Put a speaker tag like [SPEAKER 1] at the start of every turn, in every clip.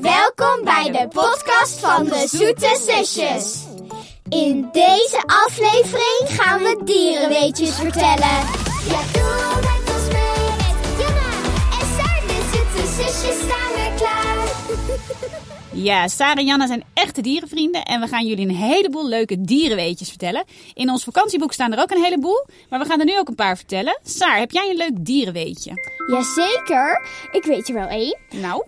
[SPEAKER 1] Welkom bij de podcast van de Zoete Zusjes. In deze aflevering gaan we dierenweetjes vertellen. Ja, doe met ons mee met Jana en Saar, de Zoete Zusjes staan weer klaar.
[SPEAKER 2] Ja, Sarah en Janna zijn echte dierenvrienden en we gaan jullie een heleboel leuke dierenweetjes vertellen. In ons vakantieboek staan er ook een heleboel, maar we gaan er nu ook een paar vertellen. Saar, heb jij een leuk dierenweetje?
[SPEAKER 1] Jazeker, ik weet er wel één.
[SPEAKER 2] Nou,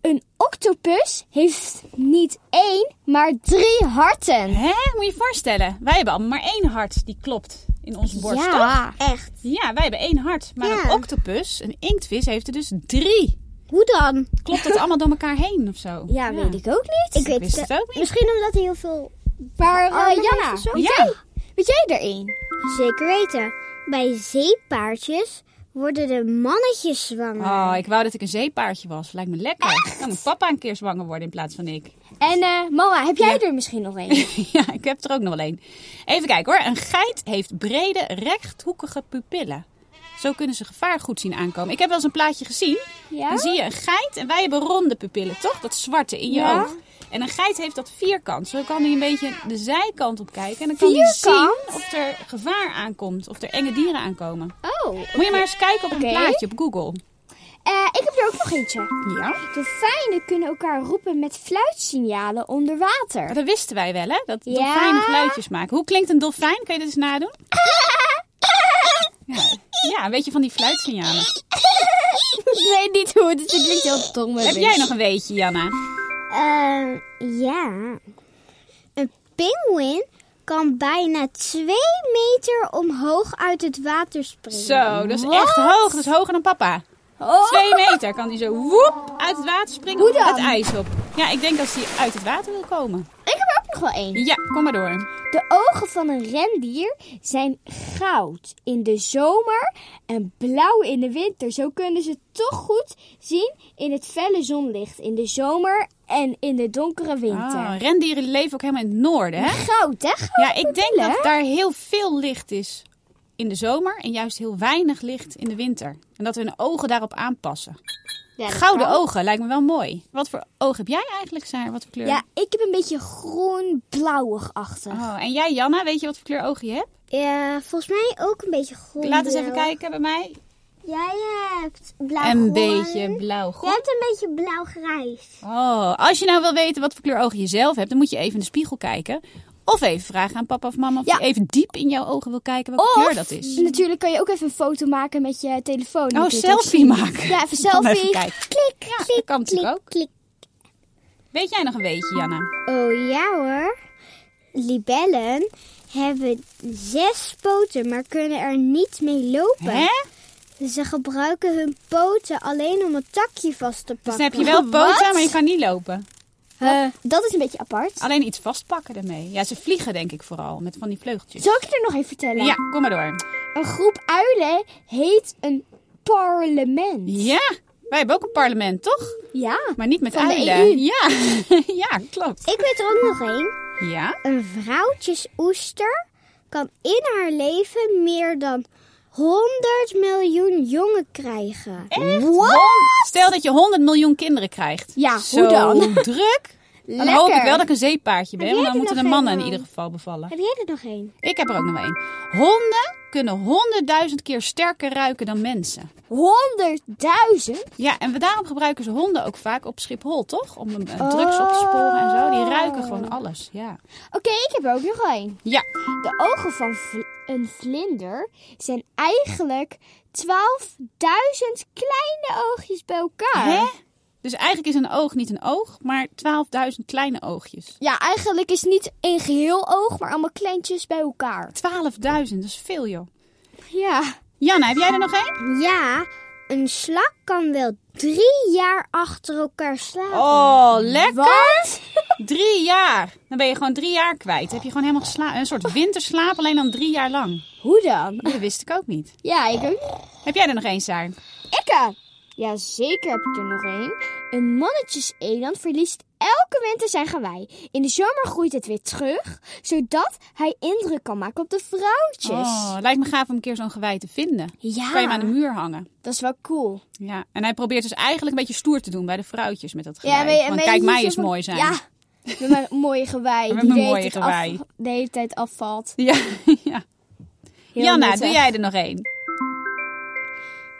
[SPEAKER 1] Een octopus heeft niet één, maar drie harten.
[SPEAKER 2] hè, moet je je voorstellen. Wij hebben allemaal maar één hart die klopt in onze borst, toch?
[SPEAKER 1] echt.
[SPEAKER 2] Ja, wij hebben één hart. Maar
[SPEAKER 1] Ja.
[SPEAKER 2] een octopus, een inktvis, heeft er dus drie.
[SPEAKER 1] Hoe dan?
[SPEAKER 2] Klopt dat allemaal door elkaar heen of zo?
[SPEAKER 1] Ja, weet ik ook niet. Ik
[SPEAKER 2] Ik wist het ook niet.
[SPEAKER 3] Misschien omdat hij heel veel.
[SPEAKER 1] Maar eh,
[SPEAKER 3] Armen
[SPEAKER 1] Jana,
[SPEAKER 3] heeft
[SPEAKER 2] Ja.
[SPEAKER 1] weet jij er één?
[SPEAKER 3] Zeker weten. Bij zeepaardjes worden de mannetjes zwanger.
[SPEAKER 2] Oh, ik wou dat ik een zeepaardje was. Lijkt me lekker. Dan moet papa een keer zwanger worden in plaats van ik.
[SPEAKER 1] En eh mama, heb jij er misschien nog één?
[SPEAKER 2] Ja, ik heb er ook nog wel een. Even kijken hoor. Een geit heeft brede, rechthoekige pupillen. Zo kunnen ze gevaar goed zien aankomen. Ik heb wel eens een plaatje gezien.
[SPEAKER 1] Ja?
[SPEAKER 2] Dan zie je een geit en wij hebben ronde pupillen, toch? Dat zwarte in je
[SPEAKER 1] Ja.
[SPEAKER 2] oog. En een geit heeft dat vierkant. Zo kan hij een beetje de zijkant op kijken. En dan kan hij
[SPEAKER 1] Vierkant?
[SPEAKER 2] zien of er gevaar aankomt. Of er enge dieren aankomen.
[SPEAKER 1] Oh.
[SPEAKER 2] Moet je maar eens kijken op een
[SPEAKER 1] Oké.
[SPEAKER 2] plaatje op Google.
[SPEAKER 1] Eh, ik heb er ook nog eentje.
[SPEAKER 2] Ja.
[SPEAKER 1] Dolfijnen kunnen elkaar roepen met fluitsignalen onder water.
[SPEAKER 2] Maar dat wisten wij wel, hè? Dat
[SPEAKER 1] Ja.
[SPEAKER 2] dolfijnen geluidjes maken. Hoe klinkt een dolfijn? Kun je dit eens nadoen? Ja, ja een beetje van die fluitsignalen.
[SPEAKER 1] ik weet niet hoe het is. Het klinkt heel dom.
[SPEAKER 2] Heb jij nog een weetje, Janna?
[SPEAKER 3] Ehm, ja. Een pinguïn kan bijna twee meter omhoog uit het water springen.
[SPEAKER 2] Zo, dat is echt hoog. Dat is hoger dan papa.
[SPEAKER 1] Oh.
[SPEAKER 2] Twee meter kan hij zo woep uit het water springen.
[SPEAKER 1] Hoe dan?
[SPEAKER 2] Het ijs op. Ja, ik denk dat hij uit het water wil komen.
[SPEAKER 1] Ik heb er ook nog wel één.
[SPEAKER 2] Ja, kom maar door.
[SPEAKER 1] De ogen van een rendier zijn goud in de zomer en blauw in de winter. Zo kunnen ze toch goed zien in het felle zonlicht in de zomer en in de donkere winter.
[SPEAKER 2] Ah, rendieren leven ook helemaal in het noorden, hè?
[SPEAKER 1] Goud, hè?
[SPEAKER 2] Ja, ik denk
[SPEAKER 1] pupillen,
[SPEAKER 2] dat daar heel veel licht is in de zomer en juist heel weinig licht in de winter. En dat hun ogen daarop aanpassen. Gouden ogen lijkt me wel mooi. Wat voor oog heb jij eigenlijk, Saar? Wat voor kleur?
[SPEAKER 1] Ja, ik heb een beetje groen-blauwig achter.
[SPEAKER 2] Oh, en jij, Janna, weet je wat voor kleur ogen je hebt?
[SPEAKER 3] Ja, volgens mij ook een beetje groen.
[SPEAKER 2] Laat eens even kijken bij mij.
[SPEAKER 3] Jij hebt blauw
[SPEAKER 2] Een
[SPEAKER 3] groen.
[SPEAKER 2] beetje blauw. Goed.
[SPEAKER 3] Jij hebt een beetje blauw-grijs.
[SPEAKER 2] Oh, als je nou wil weten wat voor kleur ogen je zelf hebt, dan moet je even in de spiegel kijken. Of even vragen aan papa of mama of
[SPEAKER 1] Ja.
[SPEAKER 2] je even diep in jouw ogen wil kijken welke kleur dat is.
[SPEAKER 1] Natuurlijk kan je ook even een foto maken met je telefoon.
[SPEAKER 2] Oh,
[SPEAKER 1] Dat je het ook
[SPEAKER 2] selfie maken.
[SPEAKER 1] Ja, even
[SPEAKER 2] Ik kan
[SPEAKER 1] selfie.
[SPEAKER 2] Even kijken.
[SPEAKER 3] Klik,
[SPEAKER 2] Ja, dat
[SPEAKER 3] klik,
[SPEAKER 2] kan natuurlijk
[SPEAKER 3] klik,
[SPEAKER 2] ook.
[SPEAKER 3] klik.
[SPEAKER 2] Weet jij nog een weetje, Janna?
[SPEAKER 3] Oh ja hoor. Libellen hebben zes poten, maar kunnen er niet mee lopen.
[SPEAKER 2] Hè?
[SPEAKER 3] Ze gebruiken hun poten alleen om een takje vast te pakken.
[SPEAKER 2] Dus dan heb je wel poten, maar je Ah. kan niet lopen.
[SPEAKER 1] zien. Eh, dat is een beetje apart.
[SPEAKER 2] Alleen iets vastpakken daarmee. Ja, ze vliegen denk ik vooral, met van die vleugeltjes.
[SPEAKER 1] Zal ik je er nog even vertellen?
[SPEAKER 2] Ja, kom maar door.
[SPEAKER 1] Een groep uilen heet een parlement.
[SPEAKER 2] Ja, wij hebben ook een parlement, toch?
[SPEAKER 1] Ja.
[SPEAKER 2] Maar niet met
[SPEAKER 1] Van de
[SPEAKER 2] uilen.
[SPEAKER 3] E
[SPEAKER 1] EU.
[SPEAKER 2] Ja. ja, klopt.
[SPEAKER 3] Ik weet er ook nog één.
[SPEAKER 2] Ja?
[SPEAKER 3] Een vrouwtjesoester kan in haar leven meer dan 100 miljoen jongen krijgen.
[SPEAKER 2] Stel dat je 100 miljoen kinderen krijgt.
[SPEAKER 1] Ja,
[SPEAKER 2] Zo
[SPEAKER 1] hoe dan?
[SPEAKER 2] druk. Dan hoop ik wel dat ik een zeepaardje ben,
[SPEAKER 3] Heb jij
[SPEAKER 2] want dan
[SPEAKER 3] er
[SPEAKER 2] moeten de
[SPEAKER 3] nog
[SPEAKER 2] mannen
[SPEAKER 3] een,
[SPEAKER 2] in
[SPEAKER 3] man?
[SPEAKER 2] ieder geval bevallen.
[SPEAKER 3] Heb jij er nog één?
[SPEAKER 2] Ik heb er ook nog één. Honden kunnen honderdduizend keer sterker ruiken dan mensen.
[SPEAKER 1] Honderdduizend?
[SPEAKER 2] Ja, en we- daarom gebruiken ze honden ook vaak op Schiphol, toch? Om een- een drugs op te sporen en zo. Die ruiken
[SPEAKER 3] Oh.
[SPEAKER 2] gewoon alles, ja.
[SPEAKER 1] Oké, ik heb er ook nog één.
[SPEAKER 2] Ja,
[SPEAKER 1] De ogen van vl- een vlinder zijn eigenlijk 12.000 kleine oogjes bij elkaar.
[SPEAKER 2] hè? Dus eigenlijk is een oog niet een oog, maar 12.000 kleine oogjes.
[SPEAKER 1] Ja, eigenlijk is niet één geheel oog, maar allemaal kleintjes bij elkaar.
[SPEAKER 2] 12.000, dat is veel, joh.
[SPEAKER 1] Ja.
[SPEAKER 2] Janna, heb jij er nog één?
[SPEAKER 3] Ja, een slak kan wel drie jaar achter elkaar slapen.
[SPEAKER 2] Oh, lekker!
[SPEAKER 1] Wat?
[SPEAKER 2] Drie jaar. Dan ben je gewoon drie jaar kwijt. Heb je gewoon helemaal gesla- een soort winterslaap, alleen dan drie jaar lang.
[SPEAKER 1] Hoe dan?
[SPEAKER 2] Dat wist ik ook niet.
[SPEAKER 1] Ja, ik ook.
[SPEAKER 2] Heb jij er nog één, Saar?
[SPEAKER 1] Ikke! Ja, zeker heb ik er nog één. Een mannetjeseland verliest elke winter zijn gewei. In de zomer groeit het weer terug, zodat hij indruk kan maken op de vrouwtjes.
[SPEAKER 2] Oh, lijkt me gaaf om een keer zo'n gewei te vinden.
[SPEAKER 1] ja,
[SPEAKER 2] Kan je hem aan de muur hangen.
[SPEAKER 1] dat is wel cool.
[SPEAKER 2] Ja. En hij probeert dus eigenlijk een beetje stoer te doen bij de vrouwtjes met dat gewei.
[SPEAKER 1] maar je-
[SPEAKER 2] Van,
[SPEAKER 1] maar je
[SPEAKER 2] kijk,
[SPEAKER 1] moet
[SPEAKER 2] mij
[SPEAKER 1] zo
[SPEAKER 2] eens
[SPEAKER 1] van-
[SPEAKER 2] mooi zijn.
[SPEAKER 1] Ja, met mijn mooie gewei.
[SPEAKER 2] Met
[SPEAKER 1] die
[SPEAKER 2] mijn
[SPEAKER 1] de hele
[SPEAKER 2] mooie
[SPEAKER 1] tijd af-
[SPEAKER 2] gewei.
[SPEAKER 1] de hele tijd afvalt.
[SPEAKER 2] Ja, ja.
[SPEAKER 1] Heel
[SPEAKER 2] Janna,
[SPEAKER 1] nuttig.
[SPEAKER 2] doe jij er nog één?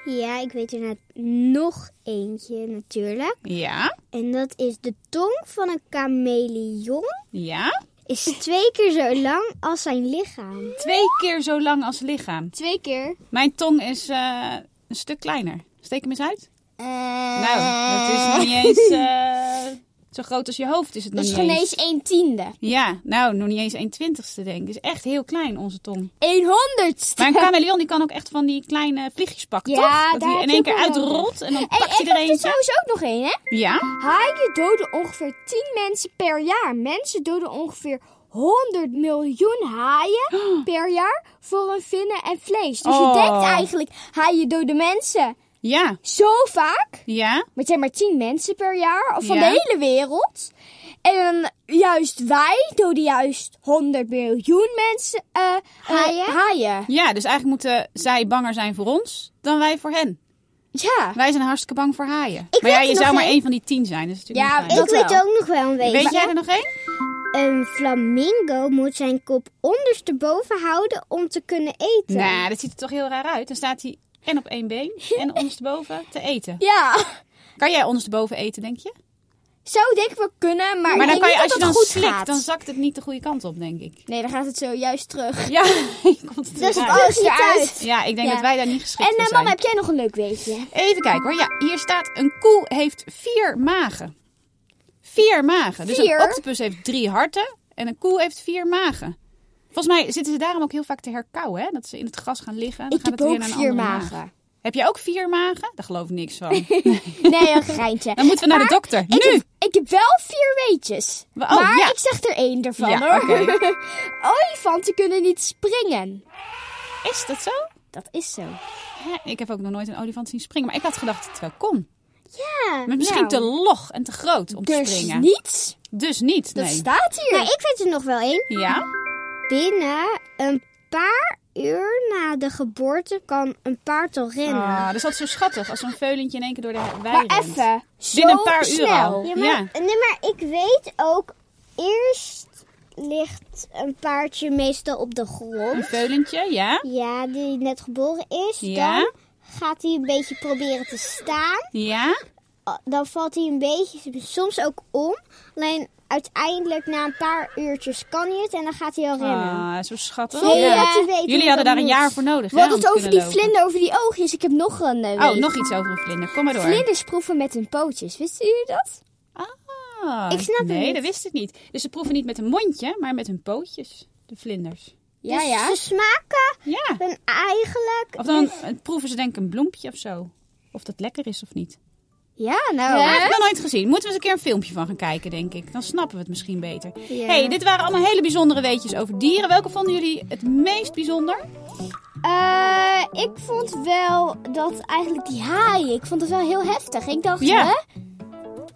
[SPEAKER 1] Ja, ik weet er na- nog eentje natuurlijk.
[SPEAKER 2] Ja,
[SPEAKER 1] En dat is de tong van een chameleon
[SPEAKER 2] ja.
[SPEAKER 1] is twee keer zo lang als zijn lichaam.
[SPEAKER 2] Twee keer zo lang als lichaam.
[SPEAKER 1] Twee keer?
[SPEAKER 2] Mijn tong is eh, een stuk kleiner. Steek hem eens uit.
[SPEAKER 1] Eh,
[SPEAKER 2] Nou, dat is nog
[SPEAKER 1] niet.
[SPEAKER 2] niet eens eh, zo groot als je hoofd is het nog
[SPEAKER 1] Dat is
[SPEAKER 2] niet
[SPEAKER 1] geen
[SPEAKER 2] eens.
[SPEAKER 1] eens een tiende.
[SPEAKER 2] Ja, nou, nog niet eens 1 twintigste denk ik. Het is echt heel klein, onze tong.
[SPEAKER 1] Een honderdste.
[SPEAKER 2] Maar een chameleon die kan ook echt van die kleine vliegjes pakken,
[SPEAKER 1] Ja,
[SPEAKER 2] toch? Dat
[SPEAKER 1] daar
[SPEAKER 2] hij
[SPEAKER 1] heb
[SPEAKER 2] in
[SPEAKER 1] je
[SPEAKER 2] één
[SPEAKER 1] ook
[SPEAKER 2] keer
[SPEAKER 1] wel nodig.
[SPEAKER 2] uitrolt en dan
[SPEAKER 1] Hey,
[SPEAKER 2] pakt
[SPEAKER 1] ik
[SPEAKER 2] hij er
[SPEAKER 1] heb er
[SPEAKER 2] eentje.
[SPEAKER 1] trouwens ook nog één, hè?
[SPEAKER 2] Ja?
[SPEAKER 1] Haaien doden ongeveer 10 mensen per jaar. Mensen doden ongeveer 100 miljoen haaien per jaar voor hun vinnen en vlees. Dus
[SPEAKER 2] Oh.
[SPEAKER 1] je denkt eigenlijk, haaien doden mensen
[SPEAKER 2] Ja.
[SPEAKER 1] zo vaak.
[SPEAKER 2] Ja?
[SPEAKER 1] Maar het zijn maar 10 mensen per jaar of van
[SPEAKER 2] Ja.
[SPEAKER 1] de hele wereld. En juist wij doden juist 100 miljoen mensen eh, eh,
[SPEAKER 4] Haaien?
[SPEAKER 1] haaien.
[SPEAKER 2] Ja, dus eigenlijk moeten zij banger zijn voor ons dan wij voor hen.
[SPEAKER 1] Ja.
[SPEAKER 2] Wij zijn hartstikke bang voor haaien.
[SPEAKER 4] weet
[SPEAKER 2] maar ja,
[SPEAKER 4] er
[SPEAKER 2] je
[SPEAKER 4] nog
[SPEAKER 2] zou maar
[SPEAKER 4] één.
[SPEAKER 2] één van die tien zijn. Dat is natuurlijk
[SPEAKER 1] Ja,
[SPEAKER 2] niet
[SPEAKER 4] Ik
[SPEAKER 2] fijn.
[SPEAKER 1] Dat
[SPEAKER 4] weet
[SPEAKER 1] wel.
[SPEAKER 4] ook nog wel een
[SPEAKER 2] Weet
[SPEAKER 4] beetje.
[SPEAKER 2] jij er nog één?
[SPEAKER 4] Een flamingo moet zijn kop ondersteboven houden om te kunnen eten.
[SPEAKER 2] Nou, dat ziet er toch heel raar uit. Dan staat hij en op één been en ondersteboven te eten.
[SPEAKER 1] Ja.
[SPEAKER 2] Kan jij ondersteboven eten, denk je?
[SPEAKER 1] Zou denk ik wel kunnen, maar,
[SPEAKER 2] Maar
[SPEAKER 1] ik
[SPEAKER 2] dan
[SPEAKER 1] denk
[SPEAKER 2] kan je, als
[SPEAKER 1] niet
[SPEAKER 2] je
[SPEAKER 1] dat
[SPEAKER 2] dan
[SPEAKER 1] dat goed
[SPEAKER 2] slikt,
[SPEAKER 1] gaat.
[SPEAKER 2] dan zakt het niet de goede kant op, denk ik.
[SPEAKER 1] Nee, dan gaat het zo juist terug.
[SPEAKER 2] Ja, komt het
[SPEAKER 4] Dus
[SPEAKER 2] eruit.
[SPEAKER 4] het is niet
[SPEAKER 1] eruit.
[SPEAKER 4] uit.
[SPEAKER 2] Ja, ik denk
[SPEAKER 1] Ja.
[SPEAKER 2] dat wij daar niet geschikt
[SPEAKER 1] En
[SPEAKER 2] voor
[SPEAKER 1] eh,
[SPEAKER 2] zijn.
[SPEAKER 1] mama, heb jij nog een leuk weetje?
[SPEAKER 2] Even kijken hoor. Ja, hier staat een koe heeft vier magen. Vier magen. Dus
[SPEAKER 1] Vier?
[SPEAKER 2] een octopus heeft drie harten en een koe heeft vier magen. Volgens mij zitten ze daarom ook heel vaak te herkauwen, hè? Dat ze in het gras gaan liggen. en Dan
[SPEAKER 1] Ik
[SPEAKER 2] gaat
[SPEAKER 1] heb
[SPEAKER 2] het
[SPEAKER 1] ook
[SPEAKER 2] weer naar een
[SPEAKER 1] vier
[SPEAKER 2] andere
[SPEAKER 1] magen.
[SPEAKER 2] maag. Heb jij ook vier magen? Daar geloof ik niks van.
[SPEAKER 1] Nee, een geintje.
[SPEAKER 2] Dan moeten we naar de dokter.
[SPEAKER 1] Ik
[SPEAKER 2] Nu!
[SPEAKER 1] heb, ik heb wel vier weetjes.
[SPEAKER 2] Oh,
[SPEAKER 1] maar
[SPEAKER 2] ja.
[SPEAKER 1] ik zeg er één ervan
[SPEAKER 2] Ja,
[SPEAKER 1] hoor.
[SPEAKER 2] oké.
[SPEAKER 1] Olifanten kunnen niet springen.
[SPEAKER 2] Is dat zo?
[SPEAKER 1] Dat is zo.
[SPEAKER 2] Hè, Ik heb ook nog nooit een olifant zien springen. Maar ik had gedacht dat het wel kon.
[SPEAKER 4] Ja.
[SPEAKER 2] Maar misschien
[SPEAKER 1] Nou.
[SPEAKER 2] te log en te groot om te
[SPEAKER 1] Dus
[SPEAKER 2] springen.
[SPEAKER 1] niets.
[SPEAKER 2] Dus niet,
[SPEAKER 1] Dat
[SPEAKER 2] nee.
[SPEAKER 1] staat hier.
[SPEAKER 4] Nou, ik weet er nog wel één.
[SPEAKER 2] Ja?
[SPEAKER 4] Binnen een paar uur na de geboorte kan een paard al rennen.
[SPEAKER 2] Ah, dat is altijd zo schattig als zo'n veulentje in één keer door de
[SPEAKER 1] maar
[SPEAKER 2] wei rent.
[SPEAKER 1] even. Zo
[SPEAKER 2] Binnen een paar uur
[SPEAKER 1] snel.
[SPEAKER 2] al.
[SPEAKER 4] Ja, maar,
[SPEAKER 2] Ja.
[SPEAKER 4] Nee, maar ik weet ook, eerst ligt een paardje meestal op de
[SPEAKER 2] Een
[SPEAKER 4] grond.
[SPEAKER 2] veulentje, ja?
[SPEAKER 4] Ja, die net geboren is.
[SPEAKER 2] Ja.
[SPEAKER 4] Dan gaat hij een beetje proberen te staan.
[SPEAKER 2] Ja?
[SPEAKER 4] Oh, Dan valt hij een beetje, soms ook om. Alleen uiteindelijk na een paar uurtjes kan hij het en dan gaat hij al rennen.
[SPEAKER 2] Ah, zo schattig.
[SPEAKER 4] Zonder
[SPEAKER 2] Ja.
[SPEAKER 4] dat hij weet hoe
[SPEAKER 2] Jullie
[SPEAKER 4] dat
[SPEAKER 2] hadden daar een
[SPEAKER 4] moet.
[SPEAKER 2] jaar voor nodig.
[SPEAKER 1] We
[SPEAKER 2] hè,
[SPEAKER 1] hadden
[SPEAKER 2] om
[SPEAKER 1] het
[SPEAKER 2] te
[SPEAKER 1] over die
[SPEAKER 2] kunnen lopen.
[SPEAKER 1] vlinder over die oogjes. Ik heb nog een eh,
[SPEAKER 2] Oh,
[SPEAKER 1] weetje.
[SPEAKER 2] nog iets over een vlinder. Kom maar door.
[SPEAKER 1] Vlinders proeven met hun pootjes. Wisten jullie dat?
[SPEAKER 2] Ah,
[SPEAKER 4] Ik snap het
[SPEAKER 2] Nee,
[SPEAKER 4] niet.
[SPEAKER 2] dat wist ik niet. Dus ze proeven niet met een mondje, maar met hun pootjes. De vlinders.
[SPEAKER 1] Ja,
[SPEAKER 4] Dus
[SPEAKER 1] ja.
[SPEAKER 4] Ze smaken
[SPEAKER 2] Ja.
[SPEAKER 4] hun eigenlijk.
[SPEAKER 2] Of dan eh, proeven ze denk ik een bloempje of zo. Of dat lekker is of niet.
[SPEAKER 1] Ja, nou.
[SPEAKER 2] Oh,
[SPEAKER 1] hè?
[SPEAKER 2] dat heb ik nog nooit gezien. Moeten we eens een keer een filmpje van gaan kijken, denk ik. Dan snappen we het misschien beter. hey, dit waren allemaal hele bijzondere weetjes over dieren. Welke vonden jullie het meest bijzonder?
[SPEAKER 1] Eh, ik vond wel dat eigenlijk die haaien, ik vond het wel heel heftig. Ik dacht,
[SPEAKER 2] Ja.
[SPEAKER 1] hè?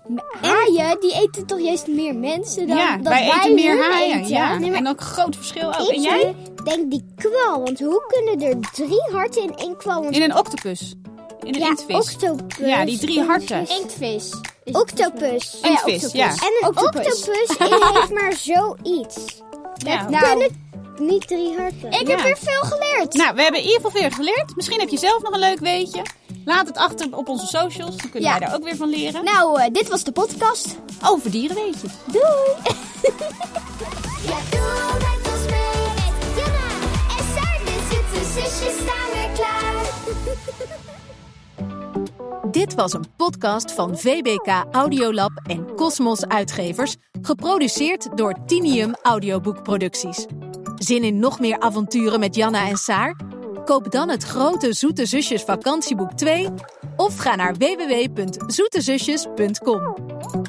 [SPEAKER 1] M- Haaien, die eten toch juist meer mensen dan
[SPEAKER 2] ja,
[SPEAKER 1] dat
[SPEAKER 2] wij eten meer
[SPEAKER 1] hun
[SPEAKER 2] haaien.
[SPEAKER 1] eten.
[SPEAKER 2] Ja.
[SPEAKER 4] Nee, maar-
[SPEAKER 2] en ook een groot verschil ook.
[SPEAKER 4] Ik
[SPEAKER 2] En jij?
[SPEAKER 4] denk die kwal, want hoe kunnen er drie harten in één kwal? Want
[SPEAKER 2] In een octopus. In een
[SPEAKER 4] ja,
[SPEAKER 2] inktvis.
[SPEAKER 4] octopus.
[SPEAKER 2] Ja, die drie harten.
[SPEAKER 1] Inktvis. Is-
[SPEAKER 4] Octopus.
[SPEAKER 1] Oh ja,
[SPEAKER 2] Inktvis,
[SPEAKER 1] octopus.
[SPEAKER 2] ja.
[SPEAKER 4] En een octopus,
[SPEAKER 1] Octopus.
[SPEAKER 4] heeft maar zoiets.
[SPEAKER 2] Ja.
[SPEAKER 1] Nou,
[SPEAKER 4] Kunnen niet drie harten.
[SPEAKER 1] ik
[SPEAKER 2] Ja.
[SPEAKER 1] heb weer veel geleerd.
[SPEAKER 2] Nou, we hebben in ieder geval weer geleerd. Misschien heb je zelf nog een leuk weetje. Laat het achter op onze socials. Dan kunnen
[SPEAKER 1] Ja.
[SPEAKER 2] wij daar ook weer van leren.
[SPEAKER 1] Nou, eh, dit was de podcast.
[SPEAKER 2] Over dierenweetjes.
[SPEAKER 1] Doei.
[SPEAKER 4] Ja, doe met ons mee met Jana en Saar, de zoete zusjes staan weer klaar.
[SPEAKER 5] Dit was een podcast van VBK Audiolab en Cosmos Uitgevers, geproduceerd door Tinium Audioboekproducties. Zin in nog meer avonturen met Janna en Saar? Koop dan het grote Zoete Zusjes vakantieboek 2 of ga naar www.zoetezusjes.com.